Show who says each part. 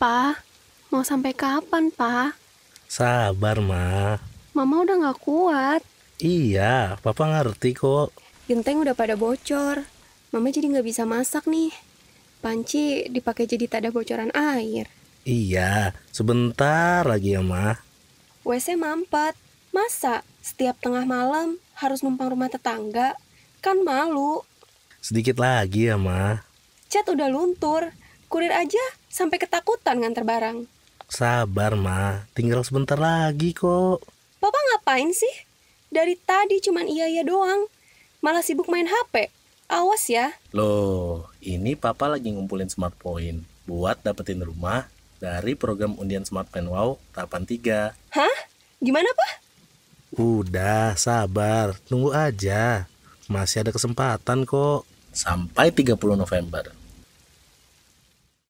Speaker 1: Pa? Mau sampai kapan, Pa?
Speaker 2: Sabar, Ma.
Speaker 1: Mama udah nggak kuat.
Speaker 2: Iya, Papa ngerti kok.
Speaker 1: Genteng udah pada bocor. Mama jadi nggak bisa masak nih. Panci dipakai jadi tak ada bocoran air.
Speaker 2: Iya, sebentar lagi ya, Ma.
Speaker 1: WC mampet. Masa setiap tengah malam harus numpang rumah tetangga? Kan malu.
Speaker 2: Sedikit lagi ya, Ma.
Speaker 1: Cat udah luntur. Kurir aja sampai ketakutan nganter barang.
Speaker 2: Sabar, Ma. Tinggal sebentar lagi kok.
Speaker 1: Papa ngapain sih? Dari tadi cuman iya-iya doang. Malah sibuk main HP. Awas ya.
Speaker 3: Loh, ini papa lagi ngumpulin smart point buat dapetin rumah dari program undian Smart Pen Wow tahapan 3.
Speaker 1: Hah? Gimana, Pa?
Speaker 2: Udah, sabar. Tunggu aja. Masih ada kesempatan kok.
Speaker 3: Sampai 30 November.